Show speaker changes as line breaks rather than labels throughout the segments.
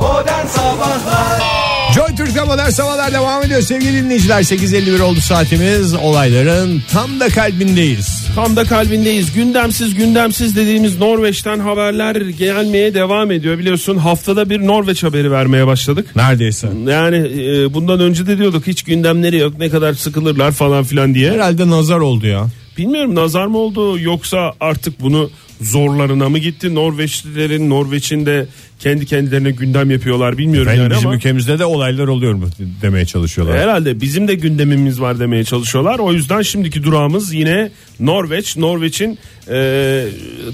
Oh, Sabahlar
Joy Türk'te modern sabahlar devam ediyor sevgili dinleyiciler 8.51 oldu saatimiz olayların tam da kalbindeyiz.
Tam da kalbindeyiz. Gündemsiz gündemsiz dediğimiz Norveç'ten haberler gelmeye devam ediyor. Biliyorsun haftada bir Norveç haberi vermeye başladık.
Neredeyse.
Yani e, bundan önce de diyorduk hiç gündemleri yok ne kadar sıkılırlar falan filan diye.
Herhalde nazar oldu ya.
Bilmiyorum nazar mı oldu yoksa artık bunu zorlarına mı gitti? Norveçlilerin Norveç'in de kendi kendilerine gündem yapıyorlar bilmiyorum
Benim
yani
bizim
ama.
ülkemizde de olaylar oluyor mu demeye çalışıyorlar.
Ee, Herhalde bizim de gündemimiz var demeye çalışıyorlar. O yüzden şimdiki durağımız yine Norveç. Norveç'in e,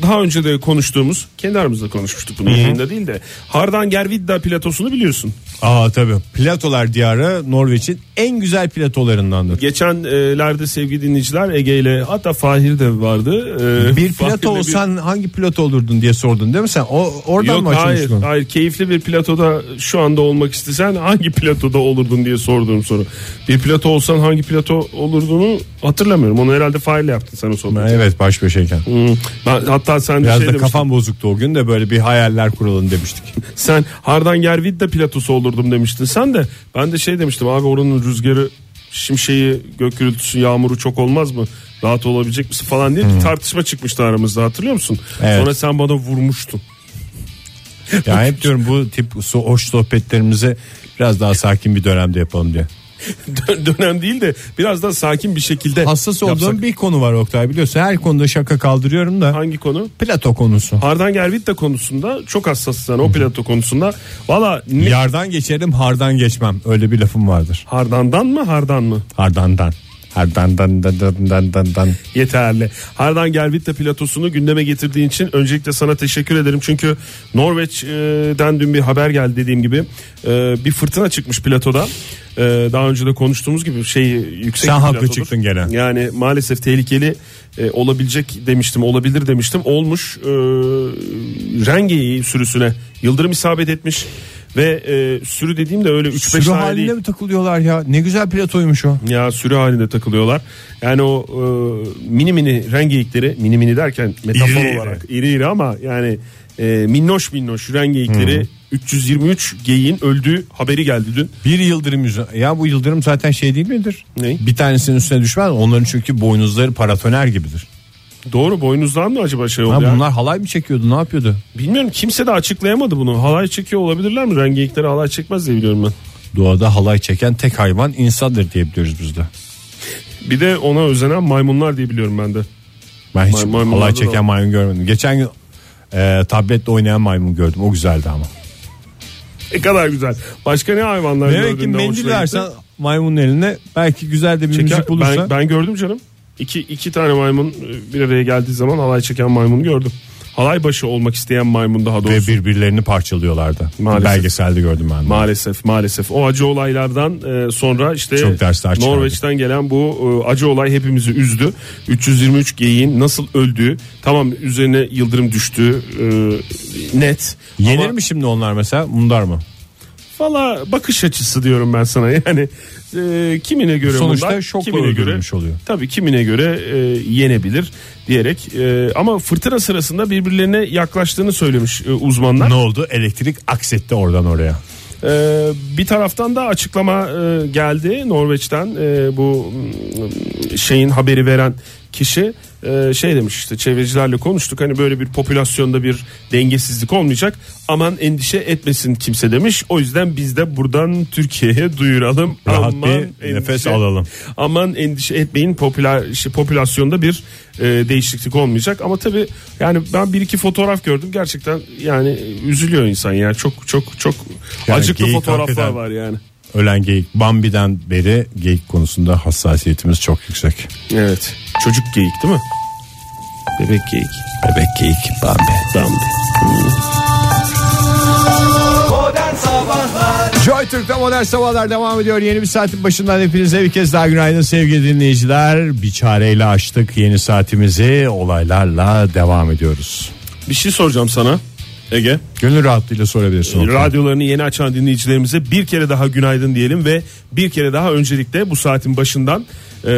daha önce de konuştuğumuz, kendi aramızda konuşmuştuk bunu yayında değil de. Hardangervidda platosunu biliyorsun.
Aa tabii. Platolar diyarı Norveç'in en güzel platolarındandır.
Geçenlerde e, sevgili dinleyiciler Ege ile hatta Fahir de vardı. E,
Bir
Fahir'le
plato olsan hangi plato olurdun diye sordun değil mi sen? O oradan
Yok
mı
hayır,
açılmıştın?
hayır keyifli bir platoda şu anda olmak istesen hangi platoda olurdun diye sorduğum soru. Bir plato olsan hangi plato olurduğunu hatırlamıyorum. Onu herhalde faile yaptın sana soruyu.
Evet baş başayken.
Hmm. Ben, hatta sen de
Biraz
şey
da
demiştin.
kafam bozuktu o gün de böyle bir hayaller kuralım demiştik.
Sen Hardangervidde platosu olurdum demiştin sen de. Ben de şey demiştim abi oranın rüzgarı şimşeği gök gürültüsü yağmuru çok olmaz mı? Rahat olabilecek misin falan diye bir tartışma çıkmıştı aramızda hatırlıyor musun?
Hmm. Evet.
Sonra sen bana vurmuştun.
Ya hep diyorum bu tip so- hoş sohbetlerimizi biraz daha sakin bir dönemde yapalım diye.
Dön- Dönem değil de biraz daha sakin bir şekilde
Hassas
yapsak.
olduğum bir konu var Oktay biliyorsun. Her konuda şaka kaldırıyorum da.
Hangi konu?
Plato konusu.
Hardangervidde konusunda çok hassas sen o plato konusunda. Valla ne-
Yardan geçerim hardan geçmem. Öyle bir lafım vardır.
Hardan'dan mı hardan mı?
Hardandan. Hardandan dan dan dan dan dan.
yeterli. Hardan Gervitta platosunu gündeme getirdiğin için öncelikle sana teşekkür ederim. Çünkü Norveç'den dün bir haber geldi dediğim gibi. E, Bir fırtına çıkmış platoda. E, Daha önce de konuştuğumuz gibi şey yüksek
Sen
bir
haklı
platodur.
çıktın gene.
Yani maalesef tehlikeli e, olabilecek demiştim, olabilir demiştim. Olmuş e, rengeyi sürüsüne yıldırım isabet etmiş ve e, sürü dediğim de öyle 3-5
Sürü
tane değil.
haline mi takılıyorlar ya? Ne güzel platoymuş o.
Ya sürü halinde takılıyorlar. Yani o e, mini mini rengeyikleri mini mini derken metafor
İri iri.
olarak iri iri ama yani e, minnoş minnoş rengeyikleri 323 geyiğin öldüğü haberi geldi dün.
Bir yıldırım yüzü. Ya bu yıldırım zaten şey değil midir?
Ne?
Bir tanesinin üstüne düşmez. Onların çünkü boynuzları paratoner gibidir.
Doğru boynuzdan mı acaba şey oldu
Ha,
ya?
bunlar halay mı çekiyordu? Ne yapıyordu?
Bilmiyorum kimse de açıklayamadı bunu. Halay çekiyor olabilirler mi? Rengeyikleri halay çekmez diye biliyorum ben.
Doğada halay çeken tek hayvan insandır diye biliyoruz biz de.
Bir de ona özenen maymunlar diye biliyorum ben de.
Ben hiç
May- maymunlarda
halay
da
çeken
var.
maymun görmedim. Geçen gün e, tabletle oynayan maymun gördüm. O güzeldi ama.
Ne kadar güzel. Başka ne hayvanlar
Demek ki
gördüğünde hoşuna
mendil
gitti?
versen maymunun eline belki güzel de bir
Çeker-
müzik bulursa.
ben, ben gördüm canım. İki, iki tane maymun e, bir araya geldiği zaman halay çeken maymunu gördüm. Halay başı olmak isteyen maymun daha
Ve
doğrusu.
birbirlerini parçalıyorlardı.
Maalesef.
Belgeselde gördüm ben. de.
Maalesef maalesef o acı olaylardan e, sonra işte
Çok dersler çıkardık.
Norveç'ten gelen bu e, acı olay hepimizi üzdü. 323 geyiğin nasıl öldüğü tamam üzerine yıldırım düştüğü e, net.
Yenir
Ama-
mi şimdi onlar mesela? Mundar mı?
Valla bakış açısı diyorum ben sana yani e, kimine göre
Sonuçta
bunlar,
şokla
kimine göre
öldürülmüş oluyor.
tabii kimine göre e, yenebilir diyerek e, ama fırtına sırasında birbirlerine yaklaştığını söylemiş e, uzmanlar.
Ne oldu? Elektrik aksetti oradan oraya.
E, bir taraftan da açıklama e, geldi Norveç'ten e, bu mm, şeyin haberi veren kişi e, şey demiş işte çevrecilerle konuştuk hani böyle bir popülasyonda bir dengesizlik olmayacak aman endişe etmesin kimse demiş o yüzden biz de buradan Türkiye'ye duyuralım
Rahat
aman
bir nefes alalım.
aman endişe etmeyin popüler şey, popülasyonda bir e, değişiklik olmayacak ama tabi yani ben bir iki fotoğraf gördüm gerçekten yani e, üzülüyor insan ya çok çok çok
Yani
acıklı
geyik
fotoğraflar
hakikaten-
var yani.
Ölen geyik Bambi'den beri geyik konusunda hassasiyetimiz çok yüksek.
Evet. Çocuk geyik değil mi? Bebek geyik.
Bebek geyik Bambi.
Dambi.
Modern Sabahlar
Joy Türk'te modern sabahlar devam ediyor. Yeni bir saatin başından hepinize bir kez daha günaydın sevgili dinleyiciler. Bir çareyle açtık yeni saatimizi olaylarla devam ediyoruz.
Bir şey soracağım sana Ege.
Gönül rahatlığıyla sorabilirsin. Oktay.
Radyolarını yeni açan dinleyicilerimize bir kere daha günaydın diyelim ve bir kere daha öncelikle bu saatin başından e,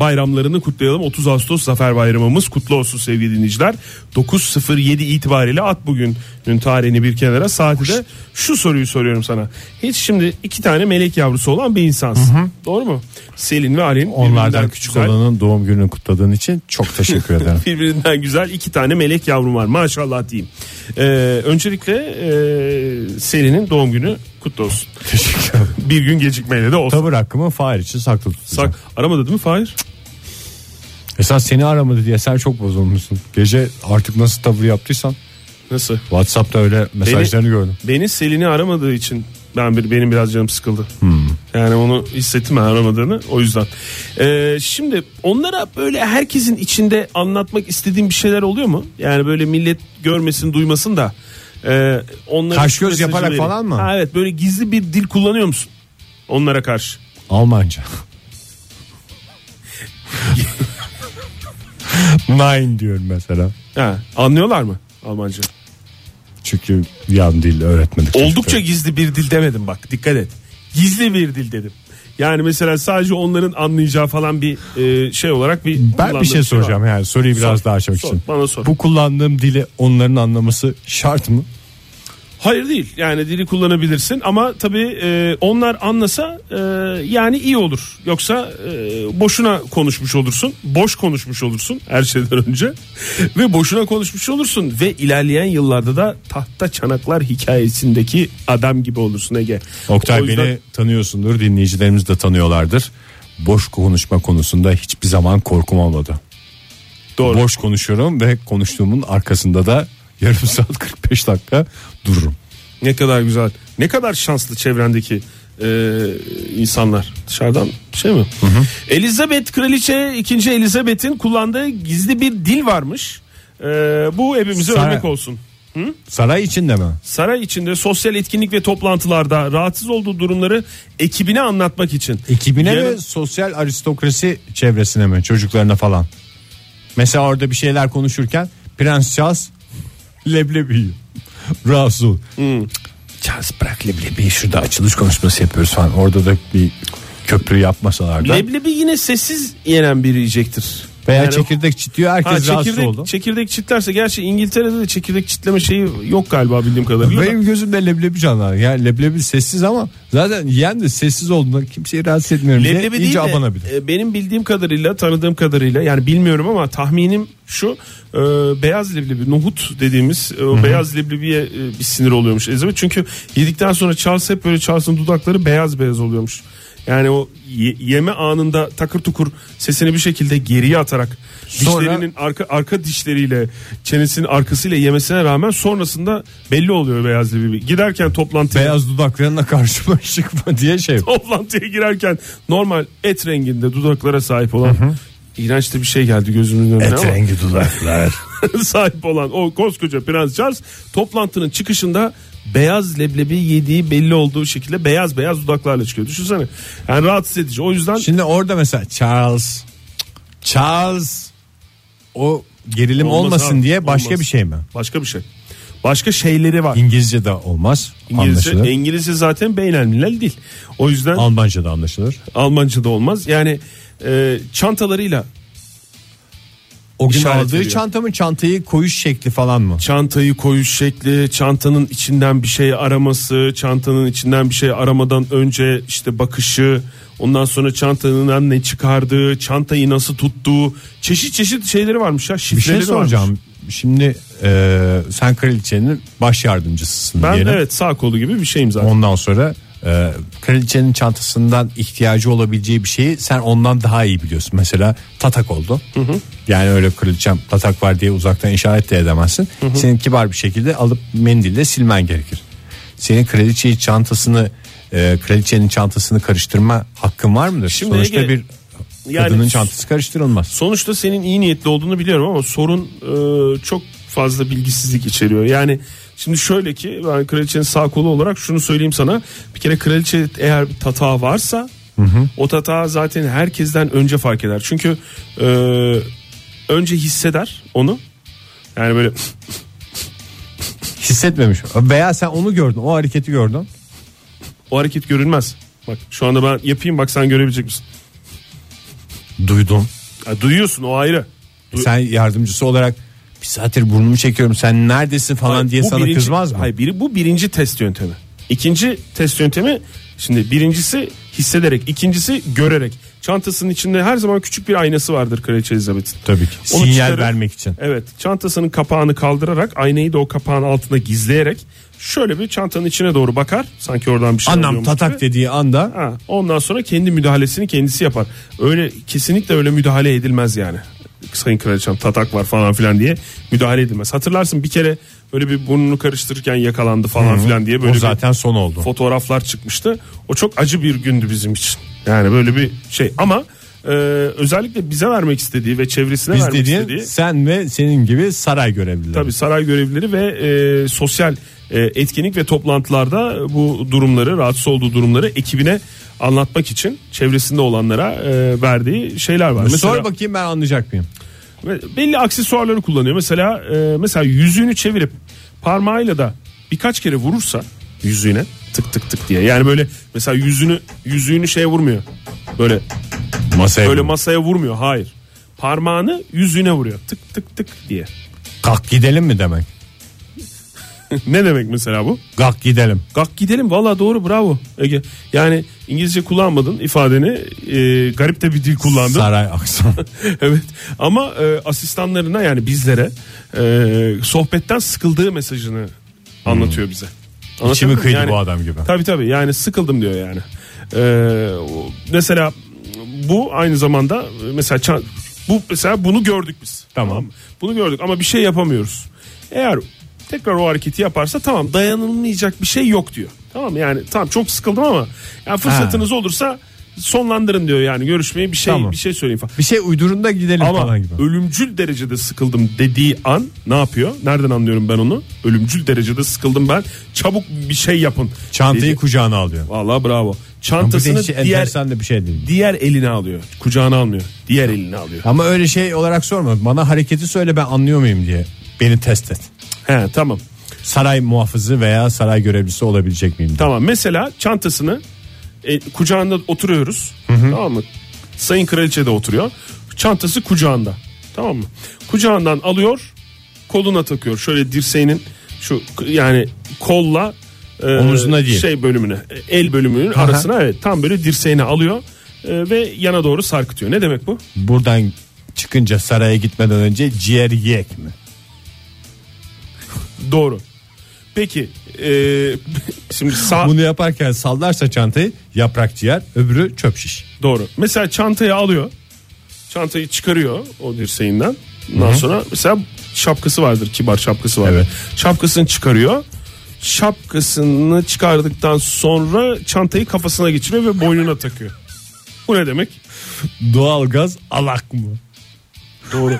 bayramlarını kutlayalım. 30 Ağustos Zafer Bayramımız kutlu olsun sevgili dinleyiciler. 9.07 itibariyle at bugün Dün tarihini bir kenara saati de şu soruyu soruyorum sana. Hiç şimdi iki tane melek yavrusu olan bir insansın. Doğru mu? Selin ve Alin.
Onlardan
birbirinden
küçük
güzel-
olanın doğum gününü kutladığın için çok teşekkür ederim.
Birbirinden güzel iki tane melek yavrum var maşallah diyeyim. Ee, öncelikle e, Selin'in doğum günü kutlu olsun.
teşekkür ederim.
Bir gün gecikmeyle de olsun.
Tavır hakkımı Fahir için saklı tutacağım.
Sak, aramadı değil mi Fahir?
Esas seni aramadı diye sen çok bozulmuşsun. Gece artık nasıl tavır yaptıysan
Nasıl?
Whatsapp'ta öyle mesajlarını gördüm.
Beni Selin'i aramadığı için ben bir benim biraz canım sıkıldı.
Hmm.
Yani onu hissettim ben aramadığını o yüzden. Ee, şimdi onlara böyle herkesin içinde anlatmak istediğim bir şeyler oluyor mu? Yani böyle millet görmesin duymasın da. E, onlara
Kaş
şu
göz
mesajı
yaparak
vereyim.
falan mı?
Ha, evet böyle gizli bir dil kullanıyor musun? Onlara karşı.
Almanca. Nein diyorum mesela.
Ha, anlıyorlar mı Almanca?
Çünkü yan dil öğretmedik.
Oldukça gizli bir dil demedim bak dikkat et. Gizli bir dil dedim. Yani mesela sadece onların anlayacağı falan bir e, şey olarak bir
Ben bir
kullandığım
şey
var.
soracağım yani soruyu biraz
Sor,
daha açmak
sor,
için.
bana sor.
Bu kullandığım dili onların anlaması şart mı?
Hayır değil yani dili kullanabilirsin ama tabii e, onlar anlasa e, yani iyi olur. Yoksa e, boşuna konuşmuş olursun, boş konuşmuş olursun her şeyden önce ve boşuna konuşmuş olursun ve ilerleyen yıllarda da tahta çanaklar hikayesindeki adam gibi olursun Ege.
Oktay
O yüzden-
beni tanıyorsundur dinleyicilerimiz de tanıyorlardır. Boş konuşma konusunda hiçbir zaman korkum olmadı.
Doğru.
Boş konuşuyorum ve konuştuğumun arkasında da yarım saat 45 dakika dururum.
Ne kadar güzel. Ne kadar şanslı çevrendeki e, insanlar. Dışarıdan şey mi? Elizabeth Kraliçe 2. Elizabeth'in kullandığı gizli bir dil varmış. E, bu hepimize
Saray-
örnek olsun.
Saray içinde mi?
Saray içinde sosyal etkinlik ve toplantılarda rahatsız olduğu durumları ekibine anlatmak için.
Ekibine
Yarın-
mi sosyal aristokrasi çevresine mi çocuklarına falan? Mesela orada bir şeyler konuşurken Prens Charles leblebi yiyor. rahatsız olur.
Hmm.
Charles bırak leblebiyi şurada açılış konuşması yapıyoruz falan. Orada da bir köprü yapmasalar da.
Leblebi yine sessiz yenen bir yiyecektir.
Veya
Yani-
çekirdek çitiyor herkes
Ha,
rahatsız
çekirdek,
oldu.
çekirdek çitlerse gerçi İngiltere'de de çekirdek çitleme şeyi yok galiba bildiğim kadarıyla. da.
Benim gözümde leblebi canlar. Yani leblebi sessiz ama zaten yiyen de sessiz olduğunda kimseyi rahatsız etmiyorum diye
Leblebi değil
iyice
de
abanabilir.
e, benim bildiğim kadarıyla tanıdığım kadarıyla yani bilmiyorum ama tahminim şu e, beyaz leblebi nohut dediğimiz e, o beyaz leblebiye e, bir sinir oluyormuş Elizabeth. Çünkü yedikten sonra Charles hep böyle Charles'ın dudakları beyaz beyaz oluyormuş. Yani o ye- yeme anında takır tukur sesini bir şekilde geriye atarak
Sonra-
dişlerinin arka arka dişleriyle çenesinin arkasıyla yemesine rağmen sonrasında belli oluyor beyaz leblebi. Giderken toplantıya
Beyaz dudaklarına karşıma çıkma diye şey.
toplantıya girerken normal et renginde dudaklara sahip olan iğrenç de bir şey geldi gözümün önüne ama
rengi dudaklar.
sahip olan o koskoca Prens Charles toplantının çıkışında beyaz leblebi yediği belli olduğu şekilde beyaz beyaz dudaklarla çıkıyor. Düşünsene. Yani rahatsız edici. O yüzden
Şimdi orada mesela Charles Charles o gerilim
Olmaz
olmasın
abi,
diye başka
olmaz.
bir şey mi?
başka bir şey. Başka şeyleri var.
İngilizce de olmaz.
İngilizce,
anlaşılır.
İngilizce zaten beynelmilel değil. O yüzden
Almanca da anlaşılır.
Almanca da olmaz. Yani e, çantalarıyla
O gün
İşaret
aldığı
veriyor.
çantamın çantayı koyuş şekli falan mı?
çantayı koyuş şekli, çantanın içinden bir şey araması, çantanın içinden bir şey aramadan önce işte bakışı, ondan sonra çantanın ne çıkardığı, çantayı nasıl tuttuğu, çeşit çeşit şeyleri varmış ya.
Bir şey
şifreleri varmış.
soracağım. Şimdi e, sen kraliçenin baş yardımcısısın
Ben
diyelim.
evet sağ kolu gibi bir şeyim zaten.
Ondan sonra e, kraliçenin çantasından ihtiyacı olabileceği bir şeyi sen ondan daha iyi biliyorsun. Mesela tatak oldu. Yani öyle kraliçem tatak var diye uzaktan işaret de edemezsin. Senin kibar bir şekilde alıp mendille silmen gerekir. Senin kraliçeyi çantasını e, kraliçenin çantasını karıştırma hakkın var mıdır?
Şimdi
Sonuçta
Ege,
bir
yani-
kadının çantası karıştırılmaz.
Sonuçta senin iyi niyetli olduğunu biliyorum ama sorun e, çok fazla bilgisizlik içeriyor. Yani şimdi şöyle ki ben kraliçenin sağ kolu olarak şunu söyleyeyim sana. Bir kere kraliçe eğer bir tatağı varsa o tatağı zaten herkesten önce fark eder. Çünkü e, önce hisseder onu. Yani böyle
Hissetmemiş. Veya sen onu gördün, o hareketi gördün.
o hareket görünmez. Bak şu anda ben yapayım bak sen görebilecek misin?
Duydun.
Ya duyuyorsun o ayrı.
Sen yardımcısı olarak bir saattir burnumu çekiyorum sen neredesin falan
Hayır,
diye
bu
sana
birinci-
kızmaz mı?
Hayır biri, bu birinci test yöntemi. İkinci test yöntemi şimdi birincisi hissederek ikincisi görerek. Çantasının içinde her zaman küçük bir aynası vardır Kraliçe Elizabeth'in.
Tabii ki.
Onu
Sinyal
çıkarıp-
vermek için.
Evet çantasının kapağını kaldırarak aynayı da o kapağın altına gizleyerek şöyle bir çantanın içine doğru bakar. Sanki oradan bir şey
Anam
alıyormuş
tatak
gibi.
dediği anda
Ha, ondan sonra kendi müdahalesini kendisi yapar. Öyle kesinlikle öyle müdahale edilmez yani. Sayın Kraliçem tatak var falan filan diye müdahale edilmez. Hatırlarsın bir kere böyle bir burnunu karıştırırken yakalandı falan filan diye
o
böyle
zaten son oldu.
bir fotoğraflar çıkmıştı. O çok acı bir gündü bizim için. Yani böyle bir şey ama e, özellikle bize vermek istediği ve çevresine
Biz
vermek
dediğin
istediği
sen ve senin gibi saray görevlileri.
Tabii saray görevlileri ve e, sosyal e, etkinlik ve toplantılarda bu durumları, rahatsız olduğu durumları ekibine anlatmak için çevresinde olanlara e, verdiği şeyler var. Mesela
Sor bakayım ben anlayacak mıyım?
ve- belli aksesuarları kullanıyor. Mesela e, mesela yüzüğünü çevirip parmağıyla da birkaç kere vurursa yüzüğüne tık tık tık diye. Yani böyle mesela yüzünü yüzüğünü şeye vurmuyor. Böyle
Masaya
böyle masaya vurmuyor. Hayır. Parmağını yüzüğüne vuruyor. Tık tık tık diye.
kalk gidelim mi demek?
ne demek mesela bu?
Kalk gidelim.
Kalk gidelim valla doğru bravo Ege. Yani İngilizce kullanmadın ifadeni e, garip de bir dil kullandın.
Saray aksan.
evet ama e, asistanlarına yani bizlere e, sohbetten sıkıldığı mesajını anlatıyor bize. Anlatabiliyor
Hmm. İçimi
muyum?
kıydı bu adam gibi.
Tabii tabii yani sıkıldım diyor yani. E, o- mesela bu aynı zamanda e, mesela çan- bu mesela bunu gördük biz.
Tamam.
mı? Bunu gördük ama bir şey yapamıyoruz. Eğer tekrar o hareketi yaparsa tamam dayanılmayacak bir şey yok diyor. Tamam mı? yani tamam çok sıkıldım ama yani fırsatınız olursa sonlandırın diyor yani görüşmeyi bir şey
Tamam.
bir şey söyleyin falan.
Bir şey uydurun da gidelim
Ama
falan gibi.
ölümcül derecede sıkıldım dediği an ne yapıyor? Nereden anlıyorum ben onu? Ölümcül derecede sıkıldım ben. Çabuk bir şey yapın.
Çantayı
dedi.
kucağına alıyor.
Vallahi bravo.
Bu da hiç
Çantasını diğer
enteresan da bir şey değil.
diğer eline alıyor. Kucağına almıyor. Diğer eline alıyor.
Ama öyle şey olarak sorma. Bana hareketi söyle ben anlıyor muyum diye. Beni test et.
He tamam.
Saray muhafızı veya saray görevlisi olabilecek miyim? diye.
Tamam. Mesela çantasını e, kucağında oturuyoruz. Tamam mı? Sayın Kraliçe de oturuyor. Çantası kucağında. Tamam mı? Kucağından alıyor, koluna takıyor. Şöyle dirseğinin şu yani kolla e,
Omuzuna değil.
şey bölümüne, e, el bölümünün arasına evet tam böyle dirseğini alıyor e, ve yana doğru sarkıtıyor. Ne demek bu?
Buradan çıkınca saraya gitmeden önce ciğer yek mi?
Doğru. Peki e, şimdi sağ
Bunu yaparken sallarsa çantayı yaprak ciğer öbürü çöp şiş.
Doğru. Mesela çantayı alıyor. Çantayı çıkarıyor o dirseğinden. Ondan sonra mesela şapkası vardır. Kibar şapkası vardır.
Evet.
Şapkasını çıkarıyor. Şapkasını çıkardıktan sonra çantayı kafasına geçiriyor ve boynuna takıyor. Bu ne demek?
Doğalgaz alak mı?
Doğru.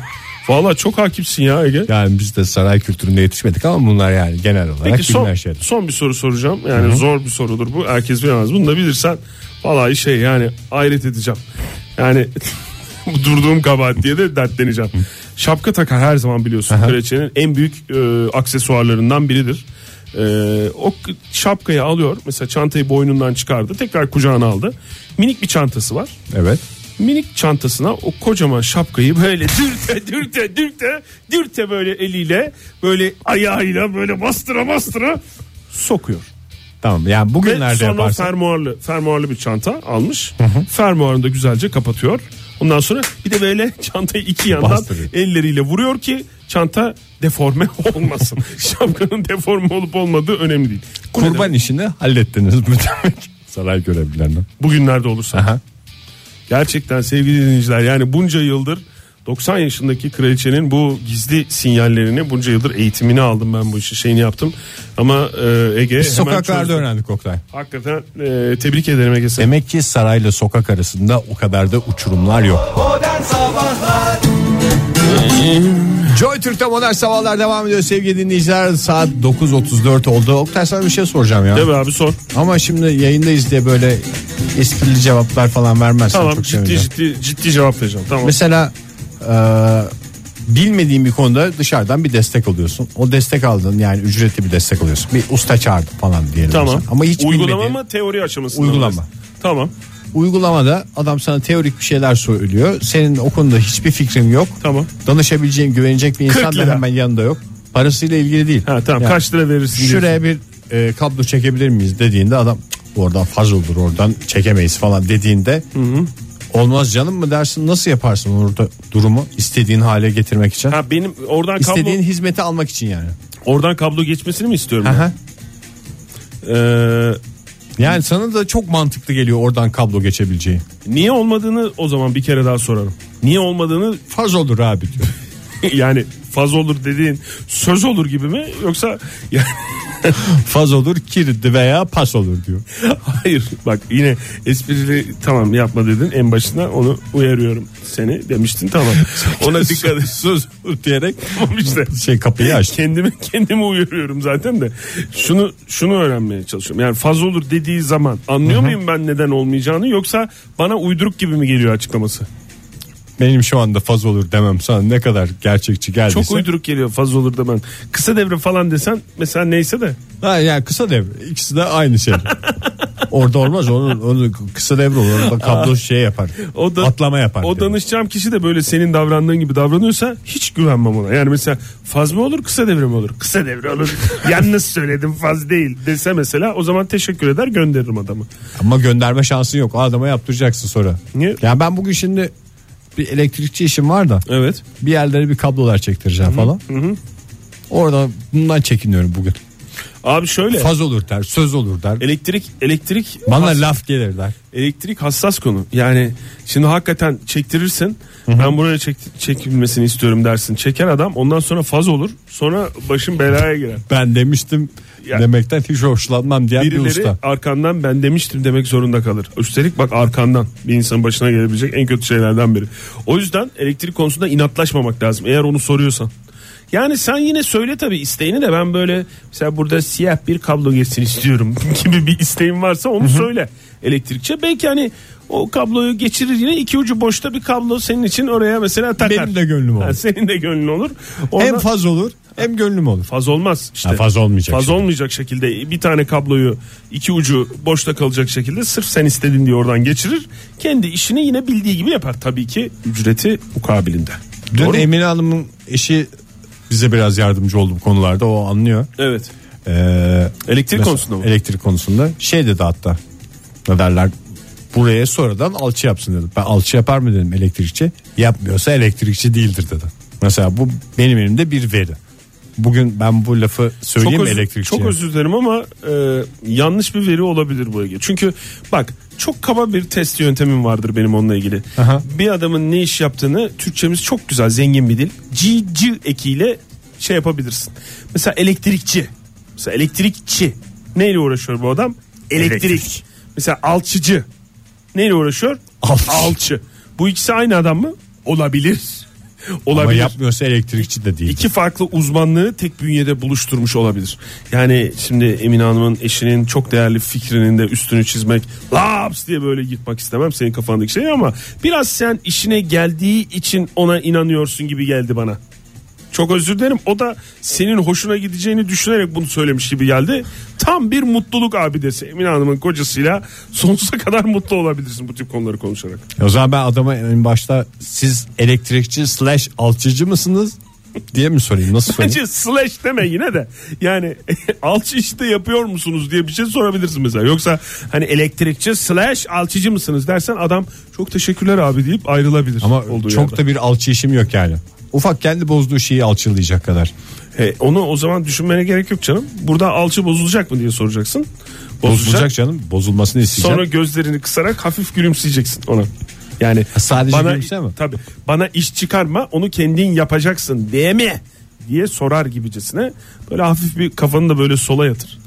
Valla çok hakimsin ya Ege.
Yani biz de saray kültüründe yetişmedik ama bunlar yani genel olarak
Peki son,
bilinen şeyler.
son bir soru soracağım. Yani zor bir sorudur bu. Herkes bilemez. Bunu da bilirsen vallahi şey yani hayret edeceğim. Yani bu durduğum kabahat diye de dertleneceğim. Şapka takar her zaman biliyorsun kraliçenin en büyük e, aksesuarlarından biridir. E, o k- şapkayı alıyor. Mesela çantayı boynundan çıkardı. Tekrar kucağına aldı. Minik bir çantası var
Evet.
minik çantasına o kocaman şapkayı böyle dürte dürte dürte dürte böyle eliyle böyle ayağıyla böyle bastıra bastıra sokuyor.
Tamam yani
Ve
bugünlerde
sonra
yaparsan
fermuarlı fermuarlı bir çanta almış. Fermuarını da güzelce kapatıyor. Ondan sonra bir de böyle çantayı iki yandan
Bastırıyor.
elleriyle vuruyor ki çanta deforme olmasın. Şapkanın deforme olup olmadığı önemli değil. Bu ne
kurban
demek?
işini hallettiniz mi demek? Saray görevlilerinden.
bugünlerde olursa.
Aha.
Gerçekten sevgili dinleyiciler yani bunca yıldır 90 yaşındaki kraliçenin bu gizli sinyallerini bunca yıldır eğitimini aldım ben bu işi şeyini yaptım. Ama e, Ege
Biz
hemen
sokaklarda
çözdü.
öğrendik Oktay.
Hakikaten e, tebrik ederim Ege seni.
Demek ki sarayla sokak arasında o kadar da uçurumlar yok.
Modern Sabahlar
Joy Türk'te modern sabahlar devam ediyor sevgili dinleyiciler. Saat 9.34 oldu. Oktay sana bir şey soracağım ya.
Değil mi abi sor.
Ama şimdi yayındayız diye böyle esprili cevaplar falan vermezsen
Tamam
çok
ciddi
sevineceğim.
ciddi ciddi cevap vereceğim. Tamam.
Mesela e, bilmediğin bir konuda dışarıdan bir destek alıyorsun. O destek aldın yani ücretli bir destek alıyorsun. Bir usta çağırdı falan diyelim.
tamam.
mesela. Ama hiç
uygulama
bilmediğin-
mı teori aşamasında? mı?
Uygulama.
Tamam.
Uygulamada adam sana teorik bir şeyler söylüyor. Senin o konuda hiçbir fikrin yok.
Tamam.
Danışabileceğin, güvenecek bir
40
insan
lira.
da hemen yanında yok. Parasıyla ilgili değil.
Ha tamam
Yani
kaç lira verirsin?
Şuraya bir e, kablo çekebilir miyiz dediğinde adam "Cık, oradan faz olur oradan çekemeyiz falan dediğinde olmaz canım mı dersin nasıl yaparsın orada durumu istediğin hale getirmek için
Ha benim oradan kablo
istediğin hizmeti almak için yani.
oradan kablo geçmesini mi istiyorum? ben?
Aha.
Ee,
Yani sana da çok mantıklı geliyor oradan kablo geçebileceği.
niye olmadığını o zaman bir kere daha sorarım. Niye olmadığını
Faz olur abi diyor.
yani faz olur dediğin söz olur gibi mi yoksa yani
Faz olur kirdi veya pas olur diyor.
hayır bak yine esprili tamam yapma dedin en başından onu uyarıyorum seni demiştin tamam ona dikkat et söz
Olur diyerek
Tamam işte
şey kapıyı açtı.
kendimi kendimi uyarıyorum zaten de şunu şunu öğrenmeye çalışıyorum yani faz olur dediği zaman anlıyor muyum ben neden olmayacağını yoksa bana uyduruk gibi mi geliyor açıklaması
Benim şu anda faz olur demem sana ne kadar gerçekçi geldiyse.
çok uyduruk geliyor faz olur da ben kısa devre falan desen mesela neyse de
Ha yani kısa devre. İkisi de aynı şey. Orada olmaz. Onun, onun kısa devre olur. Orada kablo şey yapar.
O da-
atlama yapar.
O
demek.
danışacağım kişi de böyle senin davrandığın gibi davranıyorsa hiç güvenmem ona. Yani mesela faz mı olur kısa devre mi olur? Kısa devre olur. Yalnız söyledim faz değil dese mesela o zaman teşekkür eder gönderirim adamı.
Ama gönderme şansın yok. O adama yaptıracaksın sonra.
Niye?
Ya ben bugün şimdi bir elektrikçi işim var da
Evet.
bir yerlere bir kablolar çektireceğim falan. Orada bundan çekiniyorum bugün.
Abi şöyle
Faz olur der, söz olur der.
elektrik elektrik
Bana
has-
laf gelir der.
elektrik hassas konu. Yani şimdi hakikaten çektirirsin. Ben buraya çek, çekilmesini istiyorum dersin. Çeker adam ondan sonra faz olur. Sonra başın belaya girer.
Ben demiştim
Ya-
demekten hiç hoşlanmam diyen bir
Birileri
usta.
arkandan ben demiştim demek zorunda kalır. Üstelik bak arkandan bir insanın başına gelebilecek en kötü şeylerden biri. O yüzden elektrik konusunda inatlaşmamak lazım eğer onu soruyorsan. Yani sen yine söyle tabii isteğini de ben böyle mesela burada siyah bir kablo geçsin istiyorum gibi bir isteğin varsa onu söyle elektrikçe. Belki hani o kabloyu geçirir yine iki ucu boşta bir kablo senin için oraya mesela takar.
Benim de gönlüm
Ha,
olur.
senin de gönlün olur.
Hem
Oradan-
faz olur hem gönlüm olur.
Faz olmaz işte.
Ha, faz olmayacak
Faz
şekilde.
olmayacak şekilde bir tane kabloyu iki ucu boşta kalacak şekilde sırf sen istedin diye oradan geçirir. Kendi işini yine bildiği gibi yapar tabii ki ücreti mukabilinde.
Dün
Doğru mu?
Emine Hanım'ın eşi bize biraz yardımcı oldu bu konularda o anlıyor.
Evet.
Ee,
Elektrik
mesela-
konusunda mı?
Elektrik konusunda şey dedi hatta ne derler buraya sonradan alçı yapsın dedi. Ben alçı yapar mı dedim elektrikçi yapmıyorsa elektrikçi değildir dedi. Mesela bu benim elimde bir veri. Bugün ben bu lafı
Çok
söyleyeyim mi
özür,
elektrikçiye?
çok özür dilerim ama e, yanlış bir veri olabilir bu Ege. Çünkü bak çok kaba bir test yöntemim vardır benim onunla ilgili.
Aha.
Bir adamın ne iş yaptığını Türkçemiz çok güzel zengin bir dil. C, C ekiyle şey yapabilirsin. Mesela elektrikçi. Mesela elektrikçi. Neyle uğraşıyor bu adam? Elektrik.
Elektrik.
Mesela alçıcı. Neyle uğraşıyor?
Alçı.
Alçı. Bu ikisi aynı adam mı? Olabilir.
Ama
Olabilir
yapmıyorsa elektrikçi de değil.
iki farklı uzmanlığı tek bünyede buluşturmuş olabilir. Yani şimdi Emine Hanım'ın eşinin çok değerli fikrinin de üstünü çizmek laps diye böyle yıkmak istemem senin kafandaki şey ama biraz sen işine geldiği için ona inanıyorsun gibi geldi bana. Çok özür dilerim. O da senin hoşuna gideceğini düşünerek bunu söylemiş gibi geldi. Tam bir mutluluk abidesi. Emine Hanım'ın kocasıyla sonsuza kadar mutlu olabilirsin bu tip konuları konuşarak.
O zaman ben adama en başta siz elektrikçi slash alçıcı mısınız diye mi sorayım nasıl sorayım?
Bence slash deme yine de. Yani alçı işte yapıyor musunuz diye bir şey sorabilirsin mesela. Yoksa hani elektrikçi slash alçıcı mısınız dersen adam çok teşekkürler abi deyip ayrılabilir.
Ama
olduğu
çok
yerden.
da bir alçı işim yok yani. Ufak kendi bozduğu şeyi alçılayacak kadar.
He, onu o zaman düşünmene gerek yok canım. Burada alçı bozulacak mı diye soracaksın. Bozulacak.
Bozulacak canım. Bozulmasını isteyeceğim.
Sonra gözlerini kısarak hafif gülümseyeceksin ona. Yani
sadece gülümse mi?
Tabii. Bana iş çıkarma, onu kendin yapacaksın diye mi? diye sorar gibicesine böyle hafif bir kafanı da böyle sola yatır.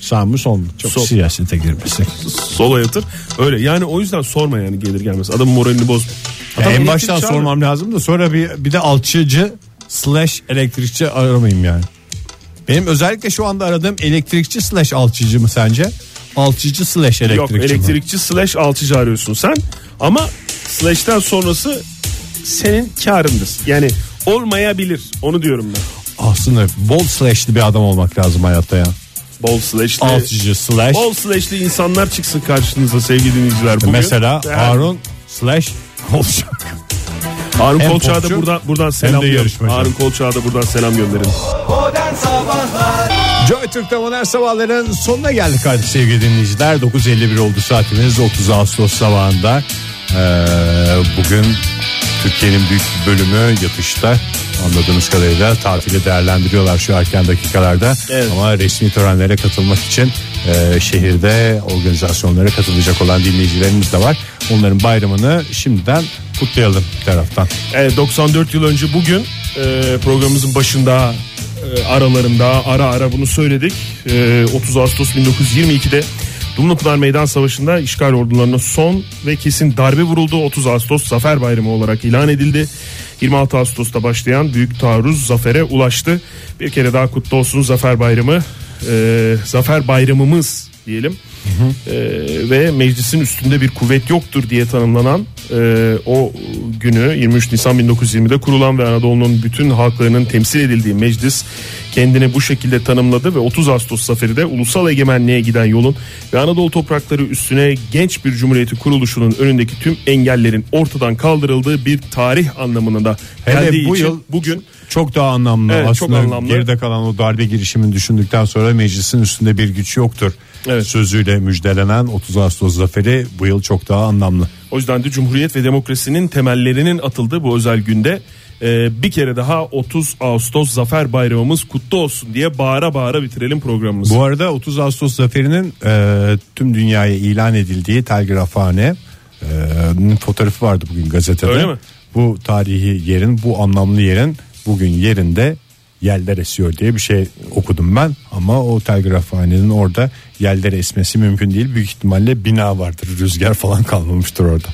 Sağ mı sol mu? Çok
Sol.
siyasete girmesi.
sola yatır. Öyle yani o yüzden sorma yani gelir gelmez. Adamın moralini boz.
Ya
Adam
en
elektrik
baştan
çağırmıyor.
sormam lazım da sonra bir, bir de alçıcı slash elektrikçi aramayayım yani. Benim özellikle şu anda aradığım elektrikçi slash alçıcı mı sence? Alçıcı slash
Yok
elektrikçi mi?
elektrikçi slash altıcı arıyorsun sen. Ama slash'ten sonrası senin karındır. Yani olmayabilir. Onu diyorum ben.
Aslında bol slashli bir adam olmak lazım hayatta ya.
Bol slash'li.
Altıcı slash.
Bol slash'li insanlar çıksın karşınıza sevgili dinleyiciler. Bugün.
Mesela
Yani
Harun slash Kolçak.
Harun
hem
Kolçak'a da
popçu,
buradan, buradan selam
yarışmacı.
Harun Kolçak'a da buradan selam gönderin.
Modern Sabahlar
Joy Türk'te modern sabahların sonuna geldik artık sevgili dinleyiciler. 9.51 oldu saatimiz 30 Ağustos sabahında. Ee, bugün Türkiye'nin büyük bir bölümü yatışta anladığımız kadarıyla tatili değerlendiriyorlar şu erken dakikalarda.
Evet.
Ama resmi törenlere katılmak için e, şehirde organizasyonlara katılacak olan dinleyicilerimiz de var. Onların bayramını şimdiden kutlayalım bir taraftan.
Evet, 94 E, yıl önce bugün e, programımızın başında e, aralarında ara ara bunu söyledik. E, 30 Ağustos 1922'de Dumlupınar Meydan Savaşı'nda işgal ordularına son ve kesin darbe vuruldu. 30 Ağustos Zafer Bayramı olarak ilan edildi. 26 Ağustos'ta başlayan büyük taarruz zafere ulaştı. Bir kere daha kutlu olsun Zafer Bayramı. E, Zafer Bayramımız diyelim. Ee, ve meclisin üstünde bir kuvvet yoktur diye tanımlanan e, o günü 23 Nisan 1920'de kurulan ve Anadolu'nun bütün halklarının temsil edildiği meclis kendini bu şekilde tanımladı ve 30 Ağustos zaferi de ulusal egemenliğe giden yolun ve Anadolu toprakları üstüne genç bir cumhuriyeti kuruluşunun önündeki tüm engellerin ortadan kaldırıldığı bir tarih anlamına da
Hele
geldiği
bu
için
yıl-
bugün
Çok daha anlamlı
Evet, çok
aslında
anlamlı.
geride kalan o darbe girişimini düşündükten sonra meclisin üstünde bir güç yoktur.
Evet.
Sözüyle müjdelenen 30 Ağustos zaferi bu yıl çok daha anlamlı.
O yüzden de Cumhuriyet ve demokrasinin temellerinin atıldığı bu özel günde e, bir kere daha 30 Ağustos Zafer Bayramımız kutlu olsun diye bağıra bağıra bitirelim programımızı.
Bu arada 30 Ağustos zaferinin e, tüm dünyaya ilan edildiği telgrafhane e, nin fotoğrafı vardı bugün gazetede.
Öyle mi?
Bu tarihi yerin, bu anlamlı yerin bugün yerinde yeller esiyor diye bir şey okudum ben ama o telgrafhanenin orada yeller esmesi mümkün değil. Büyük ihtimalle bina vardır. Rüzgar falan kalmamıştır orada.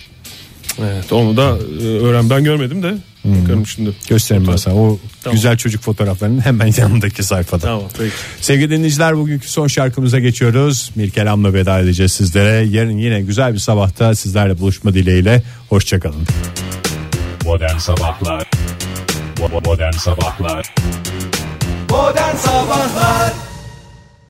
Evet, onu da e, öğren ben görmedim de bakarım şimdi.
Göstereyim ben sana o
Tamam.
güzel çocuk fotoğraflarının hemen yanındaki sayfada.
Tamam peki.
Sevgili dinleyiciler bugünkü son şarkımıza geçiyoruz. Mirkelam'la veda edeceğiz sizlere. Yarın yine güzel bir sabahta sizlerle buluşma dileğiyle. Hoşçakalın.
Modern Sabahlar Bo- Modern Sabahlar
Oh, Modern Sabahlar